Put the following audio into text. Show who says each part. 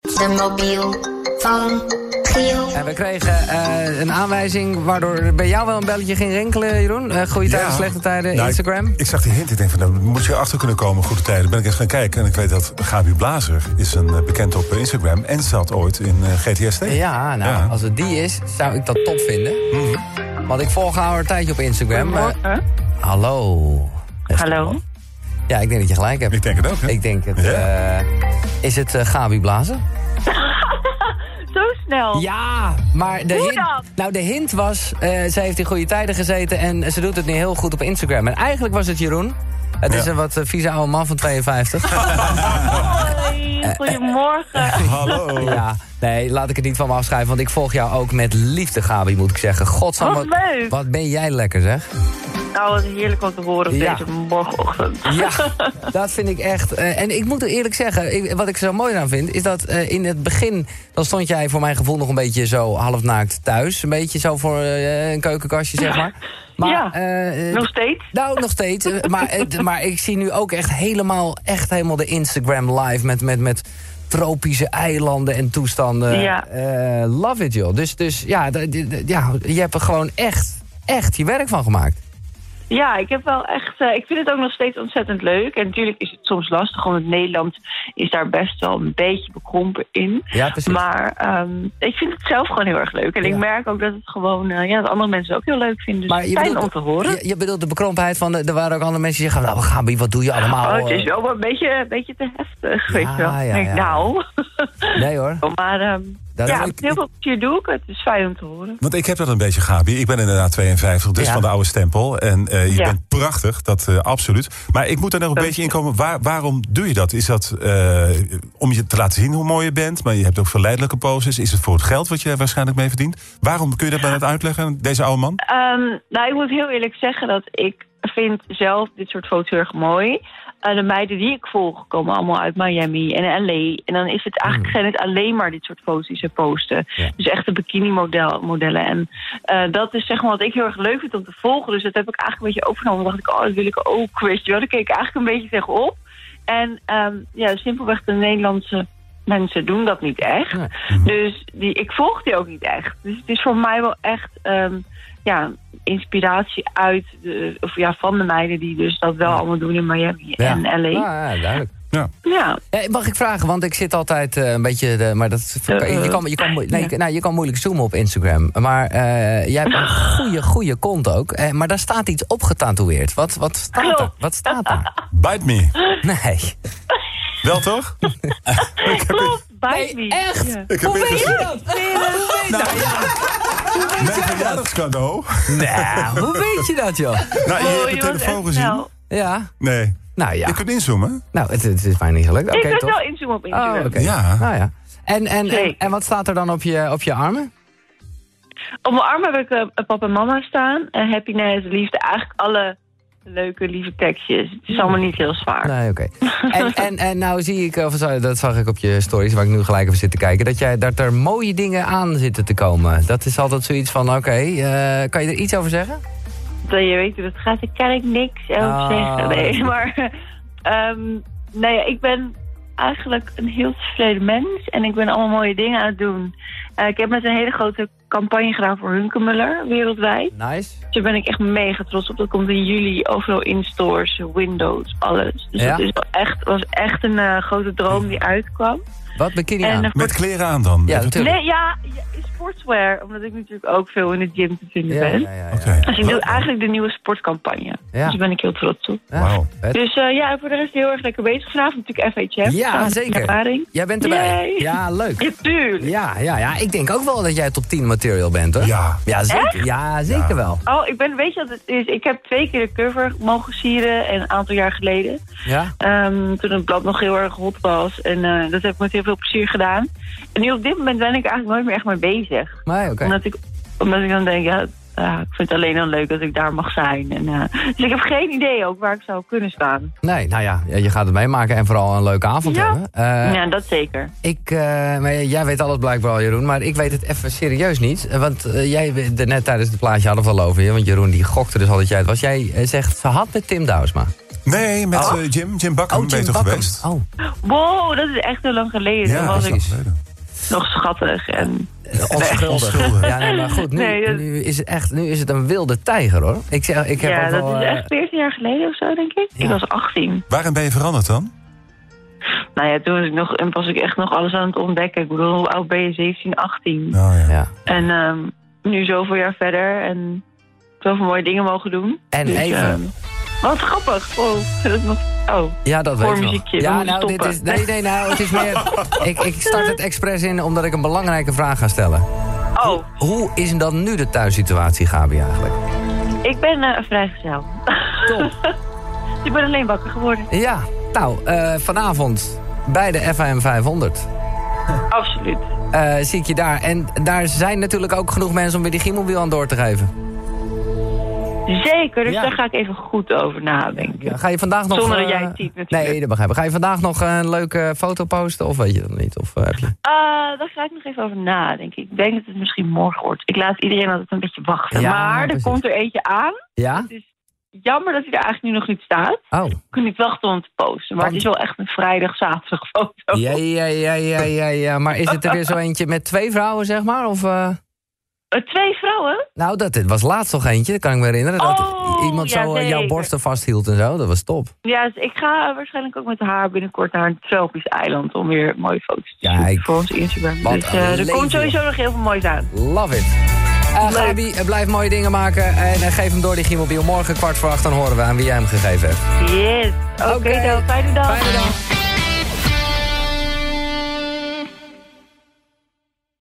Speaker 1: de mobiel van Giel.
Speaker 2: En we kregen eh, een aanwijzing waardoor er bij jou wel een belletje ging rinkelen, Jeroen. Eh, goede tijden,
Speaker 3: Ja.
Speaker 2: slechte tijden,
Speaker 3: Nou, ik-
Speaker 2: Instagram.
Speaker 3: Ik, zag die hint, ik denk van, daar moet je achter kunnen komen, goede tijden. Ben ik eens gaan kijken en ik weet dat Gabi Blazer is een eh, bekend op eh, Instagram... en zat ooit in eh, GTSD.
Speaker 2: Ja, nou,
Speaker 3: Ja. Mhm.
Speaker 2: als het die is, zou ik dat top vinden. Want ik volg haar een tijdje op Instagram. maar-
Speaker 4: Morgen.
Speaker 2: hallo. Beste
Speaker 4: Hallo.
Speaker 2: man. Ja, ik denk dat je gelijk hebt.
Speaker 3: Ik denk het ook, hè?
Speaker 2: Ik denk het.
Speaker 3: Ja.
Speaker 2: eh, is het eh, Gabi Blazen?
Speaker 4: Zo snel.
Speaker 2: Ja, maar de
Speaker 4: Hoe
Speaker 2: hint,
Speaker 4: dan?
Speaker 2: nou, de hint was, eh ze heeft in goede tijden gezeten en ze doet het nu heel goed op Instagram. En eigenlijk was het Jeroen. Het is
Speaker 3: Ja.
Speaker 2: een wat eh, vieze oude man van 52. Eh,
Speaker 4: Hoi, goedemorgen.
Speaker 3: Hallo.
Speaker 2: ja, nee, laat ik het niet van me afschrijven, want ik volg jou ook met liefde, Gabi, moet ik zeggen. Godsam,
Speaker 4: Wat leuk.
Speaker 2: wat ben jij lekker, zeg.
Speaker 4: Nou, wat heerlijk om te horen op
Speaker 2: Ja.
Speaker 4: deze morgenochtend.
Speaker 2: Ja, dat vind ik echt. eh, en ik moet er eerlijk zeggen, ik- wat ik zo mooi aan vind, is dat eh, in het begin, dan stond jij voor mijn gevoel nog een beetje zo halfnaakt thuis. Een beetje zo voor eh, een keukenkastje, zeg maar. Maar,
Speaker 4: Ja,
Speaker 2: eh, eh,
Speaker 4: Nog steeds?
Speaker 2: nou, nog steeds. eh, maar, het- maar ik zie nu ook echt helemaal, echt helemaal de Instagram live met, met, met tropische eilanden en toestanden.
Speaker 4: Ja.
Speaker 2: Eh, love it, joh. Dus, dus ja, d- d- d- ja, je hebt er gewoon echt, echt je werk van gemaakt.
Speaker 4: Ja, ik heb wel echt. eh, ik vind het ook nog steeds ontzettend leuk. En natuurlijk is het soms lastig, want Nederland is daar best wel een beetje bekrompen in.
Speaker 2: Ja, precies.
Speaker 4: Maar ehm, ik vind het zelf gewoon heel erg leuk. En
Speaker 2: Ja.
Speaker 4: ik merk ook dat het gewoon. eh, ja, dat andere mensen het ook heel leuk vinden. Dus
Speaker 2: Maar je
Speaker 4: fijn
Speaker 2: bedoelt-
Speaker 4: om te horen.
Speaker 2: Je, je bedoelt de bekrompenheid van, eh, er waren ook andere mensen die zeggen... Nou, Gabi, wat doe je allemaal?
Speaker 4: Oh, het
Speaker 2: eh?"
Speaker 4: is wel een beetje, een beetje te heftig,
Speaker 2: Ja,
Speaker 4: weet je wel.
Speaker 2: ja,
Speaker 4: Ik denk,
Speaker 2: ja.
Speaker 4: Nou,
Speaker 2: Nee hoor.
Speaker 4: maar ehm,
Speaker 2: Dat
Speaker 4: ja,
Speaker 2: is-
Speaker 4: met heel veel plezier doe ik het. Het is fijn om te horen.
Speaker 3: Want ik heb dat een beetje, Gabi. Ik ben inderdaad 52, dus
Speaker 2: Ja.
Speaker 3: van de oude stempel. En eh, je
Speaker 4: Ja.
Speaker 3: bent prachtig, dat eh, absoluut. Maar ik moet daar nog een
Speaker 4: Dank
Speaker 3: beetje in komen. Waar, waarom doe je dat? Is dat eh, om je te laten zien hoe mooi je bent? Maar je hebt ook verleidelijke poses. Is het voor het geld wat je er waarschijnlijk mee verdient? Waarom kun je dat maar net uitleggen, aan deze oude man?
Speaker 4: Ehm, nou, ik moet heel eerlijk zeggen dat ik vind zelf dit soort foto's heel erg mooi. Eh, de meiden die ik volg komen allemaal uit Miami en LA. En dan is het eigenlijk zijn het alleen maar dit soort foto's die ze posten.
Speaker 2: Ja.
Speaker 4: Dus echte bikini-modellen. modellen. En eh, dat is zeg maar wat ik heel erg leuk vind om te volgen. Dus dat heb ik eigenlijk een beetje overgenomen. Dan dacht ik, oh, dat wil ik ook. Weet je wel, daar keek ik eigenlijk een beetje tegenop. En ehm, ja, simpelweg de Nederlandse mensen doen dat niet echt.
Speaker 2: Nee.
Speaker 3: Mhm.
Speaker 4: Dus die, ik volg die ook niet echt. Dus het is voor mij wel echt ehm, ja, inspiratie uit de, of ja, van de meiden die dus dat wel allemaal doen in Miami en LA. Ja.
Speaker 2: Ja, ja, duidelijk.
Speaker 3: Ja.
Speaker 2: Ja, Eh, mag ik vragen, want ik zit altijd eh, een beetje... De, maar dat, is- je, kan, je, kan, moe- nee,
Speaker 4: Ja.
Speaker 2: je- nou, je kan moeilijk zoomen op Instagram. Maar eh, jij hebt een
Speaker 4: Ah.
Speaker 2: goede, goede kont ook. Eh, maar daar staat iets op getatoeëerd. Wat, wat staat er?
Speaker 4: Klopt.
Speaker 2: Wat staat daar?
Speaker 3: Bite me.
Speaker 2: Nee.
Speaker 3: Wel toch?
Speaker 4: Klopt, bij
Speaker 2: Nee,
Speaker 4: me.
Speaker 2: echt?
Speaker 4: Ja.
Speaker 3: Ik heb
Speaker 2: Hoe weet
Speaker 3: ingezien.
Speaker 2: je dat? Nee, dat weet-
Speaker 3: Nou, Mijn verjaardagscadeau.
Speaker 2: Nou, hoe weet je dat, joh?
Speaker 3: Nou, je
Speaker 4: Oh,
Speaker 3: hebt
Speaker 4: je
Speaker 3: de
Speaker 4: was
Speaker 3: telefoon
Speaker 4: echt
Speaker 3: gezien.
Speaker 4: snel.
Speaker 2: Ja,
Speaker 3: Nee.
Speaker 2: nou ja.
Speaker 3: Je kunt inzoomen.
Speaker 2: Nou, het, het is mij niet gelukt. Oké,
Speaker 4: ik kan
Speaker 2: toch?
Speaker 4: wel inzoomen op Instagram.
Speaker 2: Oh, oké.
Speaker 3: Ja.
Speaker 2: Nou ja. En, en, en,
Speaker 4: Zeker.
Speaker 2: en wat staat er dan op je, op je armen?
Speaker 4: Op mijn arm heb ik eh, papa en mama staan. En happiness, liefde, eigenlijk alle leuke, lieve tekstjes. Het is allemaal niet heel zwaar.
Speaker 2: Nee, oké. En, en, en nou zie ik, of sorry, dat zag ik op je stories waar ik nu gelijk even zit te kijken, dat, jij, dat er mooie dingen aan zitten te komen. Dat is altijd zoiets van, oké, eh, kan je er iets over zeggen?
Speaker 4: Dat je weet hoe dat gaat, ik kan ik niks over
Speaker 2: Ah.
Speaker 4: zeggen. Nee, maar ehm, nou ja, ik ben eigenlijk een heel tevreden mens en ik ben allemaal mooie dingen aan het doen. Eh, ik heb net een hele grote campagne gedaan voor Hunkemuller wereldwijd.
Speaker 2: Nice.
Speaker 4: Daar ben ik echt mega trots op. Dat komt in juli overal in stores, Windows, alles. Dus
Speaker 2: Ja.
Speaker 4: dat is wel echt, was echt een eh, grote droom die uitkwam.
Speaker 2: Wat bikini
Speaker 4: En
Speaker 2: aan?
Speaker 4: een
Speaker 3: Met kleren aan dan.
Speaker 2: Ja,
Speaker 3: Even-
Speaker 2: natuurlijk.
Speaker 4: Nee, ja, ja, sportswear. Omdat ik natuurlijk ook veel in de gym te vinden
Speaker 2: Ja,
Speaker 4: ben.
Speaker 2: ja, ja.
Speaker 3: Oké.
Speaker 4: Dus ik doe eigenlijk de nieuwe sportcampagne.
Speaker 2: Ja.
Speaker 4: Dus daar ben ik heel trots op.
Speaker 2: ja.
Speaker 3: Wauw.
Speaker 2: Vet.
Speaker 4: Dus eh, ja, voor de rest heel erg lekker bezig vanavond. Natuurlijk FHF.
Speaker 2: Ja,
Speaker 4: samen met
Speaker 2: zeker.
Speaker 4: Ervaring.
Speaker 2: Jij bent erbij.
Speaker 4: Yay.
Speaker 2: Ja, leuk.
Speaker 4: Ja, tuurlijk.
Speaker 2: Ja, ja, ja. Ik denk ook wel dat jij top 10 material bent, hoor.
Speaker 3: Ja.
Speaker 2: Ja, zeker, ja, zeker wel.
Speaker 4: Oh, ik ben, weet je wat het is? Ik heb twee keer de cover mogen sieren en een aantal jaar geleden.
Speaker 2: Ja?
Speaker 4: Ehm, toen het blad nog heel erg hot was. En eh, dat heb ik met heel veel plezier gedaan. En nu op dit moment ben ik eigenlijk nooit meer echt mee bezig.
Speaker 2: Nee, oké.
Speaker 4: Omdat, ik, omdat ik dan denk, ja, ah, ik vind het alleen dan leuk dat ik daar mag zijn. En, eh, dus ik heb geen idee ook waar ik zou kunnen staan.
Speaker 2: Nee, nou ja, je gaat het meemaken en vooral een leuke avond
Speaker 4: Ja.
Speaker 2: hebben. Eh,
Speaker 4: ja, dat zeker.
Speaker 2: Ik, eh, maar jij weet alles blijkbaar al, Jeroen, maar ik weet het even serieus niet. Eh, Want eh, jij, we- de, net tijdens het plaatje hadden we al over je, want Jeroen die gokte dus al dat jij het was. Jij eh, zegt, ze had met Tim Douwsma.
Speaker 3: Nee, met
Speaker 2: Oh.
Speaker 3: eh, Jim, Jim Bakken
Speaker 2: Jim
Speaker 3: beter
Speaker 2: Bakken.
Speaker 3: geweest.
Speaker 2: Oh,
Speaker 4: Wow, dat is echt heel lang geleden.
Speaker 3: Ja,
Speaker 4: Toen was
Speaker 3: dat
Speaker 4: ik
Speaker 3: is lang geleden.
Speaker 4: nog schattig. En...
Speaker 2: eh, onschuldig.
Speaker 3: onschuldig.
Speaker 2: Ja, nee, maar goed, nu,
Speaker 4: Nee, dat-
Speaker 2: nu, is het echt, nu is het een wilde tijger, hoor. Ik, zeg, ik heb
Speaker 4: Ja,
Speaker 2: ook wel,
Speaker 4: dat is
Speaker 2: eh,
Speaker 4: echt 14 jaar geleden of zo, denk ik.
Speaker 2: ja.
Speaker 4: Ik was 18.
Speaker 3: Waarin ben je veranderd dan?
Speaker 4: Nou ja, toen was ik, nog, en was ik echt nog alles aan het ontdekken. Ik bedoel, hoe oud ben je? 17, 18.
Speaker 3: Nou ja.
Speaker 2: ja.
Speaker 4: En ehm, nu zoveel jaar verder en zoveel mooie dingen mogen doen.
Speaker 2: En even-
Speaker 4: ehm, wat grappig. Oh, dat is nog... Oh,
Speaker 2: Ja, dat
Speaker 4: Voor
Speaker 2: weet ik nog.
Speaker 4: muziekje, dan
Speaker 2: Ja,
Speaker 4: moet je
Speaker 2: nou, dit
Speaker 4: stoppen.
Speaker 2: is, nee, nee, nou, het is meer... ik, ik start het expres in omdat ik een belangrijke vraag ga stellen.
Speaker 4: oh
Speaker 2: Hoe is dan nu de thuissituatie, Gabi, eigenlijk?
Speaker 4: ik ben eh, vrijgezel.
Speaker 2: Top.
Speaker 4: ik ben alleen wakker geworden.
Speaker 2: Ja, nou, eh, vanavond bij de FAM 500
Speaker 4: Absoluut.
Speaker 2: eh, zie ik je daar. En daar zijn natuurlijk ook genoeg mensen om weer die gimmelwiel aan door te geven.
Speaker 4: Zeker, dus
Speaker 2: Ja.
Speaker 4: daar ga ik even goed over nadenken.
Speaker 2: Ja, ga je vandaag nog...
Speaker 4: Zonder dat
Speaker 2: eh,
Speaker 4: jij het ziet, natuurlijk.
Speaker 2: Nee, dat begrijp ik. Ga je vandaag nog een leuke foto posten of weet je dat niet? Of eh, heb je...
Speaker 4: Eh, daar ga ik nog even over nadenken. Ik denk dat het misschien morgen wordt. Ik laat iedereen altijd een beetje wachten.
Speaker 2: Ja,
Speaker 4: maar
Speaker 2: precies.
Speaker 4: er komt er eentje aan.
Speaker 2: Ja?
Speaker 4: Jammer dat hij er eigenlijk nu nog niet staat.
Speaker 2: Oh.
Speaker 4: Ik kan niet wachten om hem te posten. Maar
Speaker 2: Want-
Speaker 4: het is wel echt een vrijdag-zaterdag foto.
Speaker 2: Ja, ja, ja, ja, ja, ja. Maar is het er weer zo eentje met twee vrouwen, zeg maar? Of... eh?
Speaker 4: Eh, twee vrouwen?
Speaker 2: Nou, dat dit was laatst toch eentje, dat kan ik me herinneren. Dat
Speaker 4: Oh,
Speaker 2: iemand
Speaker 4: ja,
Speaker 2: zo eh, jouw
Speaker 4: zeker.
Speaker 2: borsten vasthield en zo, dat was top.
Speaker 4: Ja, dus ik ga waarschijnlijk ook met haar binnenkort naar een tropisch eiland om weer mooie foto's te
Speaker 2: Kijk.
Speaker 4: maken voor ons Instagram.
Speaker 2: Wat
Speaker 4: Dus eh,
Speaker 2: een
Speaker 4: er
Speaker 2: leven,
Speaker 4: komt sowieso nog heel veel moois aan.
Speaker 2: Love it. Eh,
Speaker 4: Leuk.
Speaker 2: Gabi, eh, blijf mooie dingen maken en eh, geef hem door die Gimobiel. Morgen kwart voor acht, dan horen we aan wie jij hem gegeven hebt.
Speaker 4: Yes. Oké,
Speaker 2: Oké.
Speaker 4: dan. Fijne dag.
Speaker 2: Fijne dag.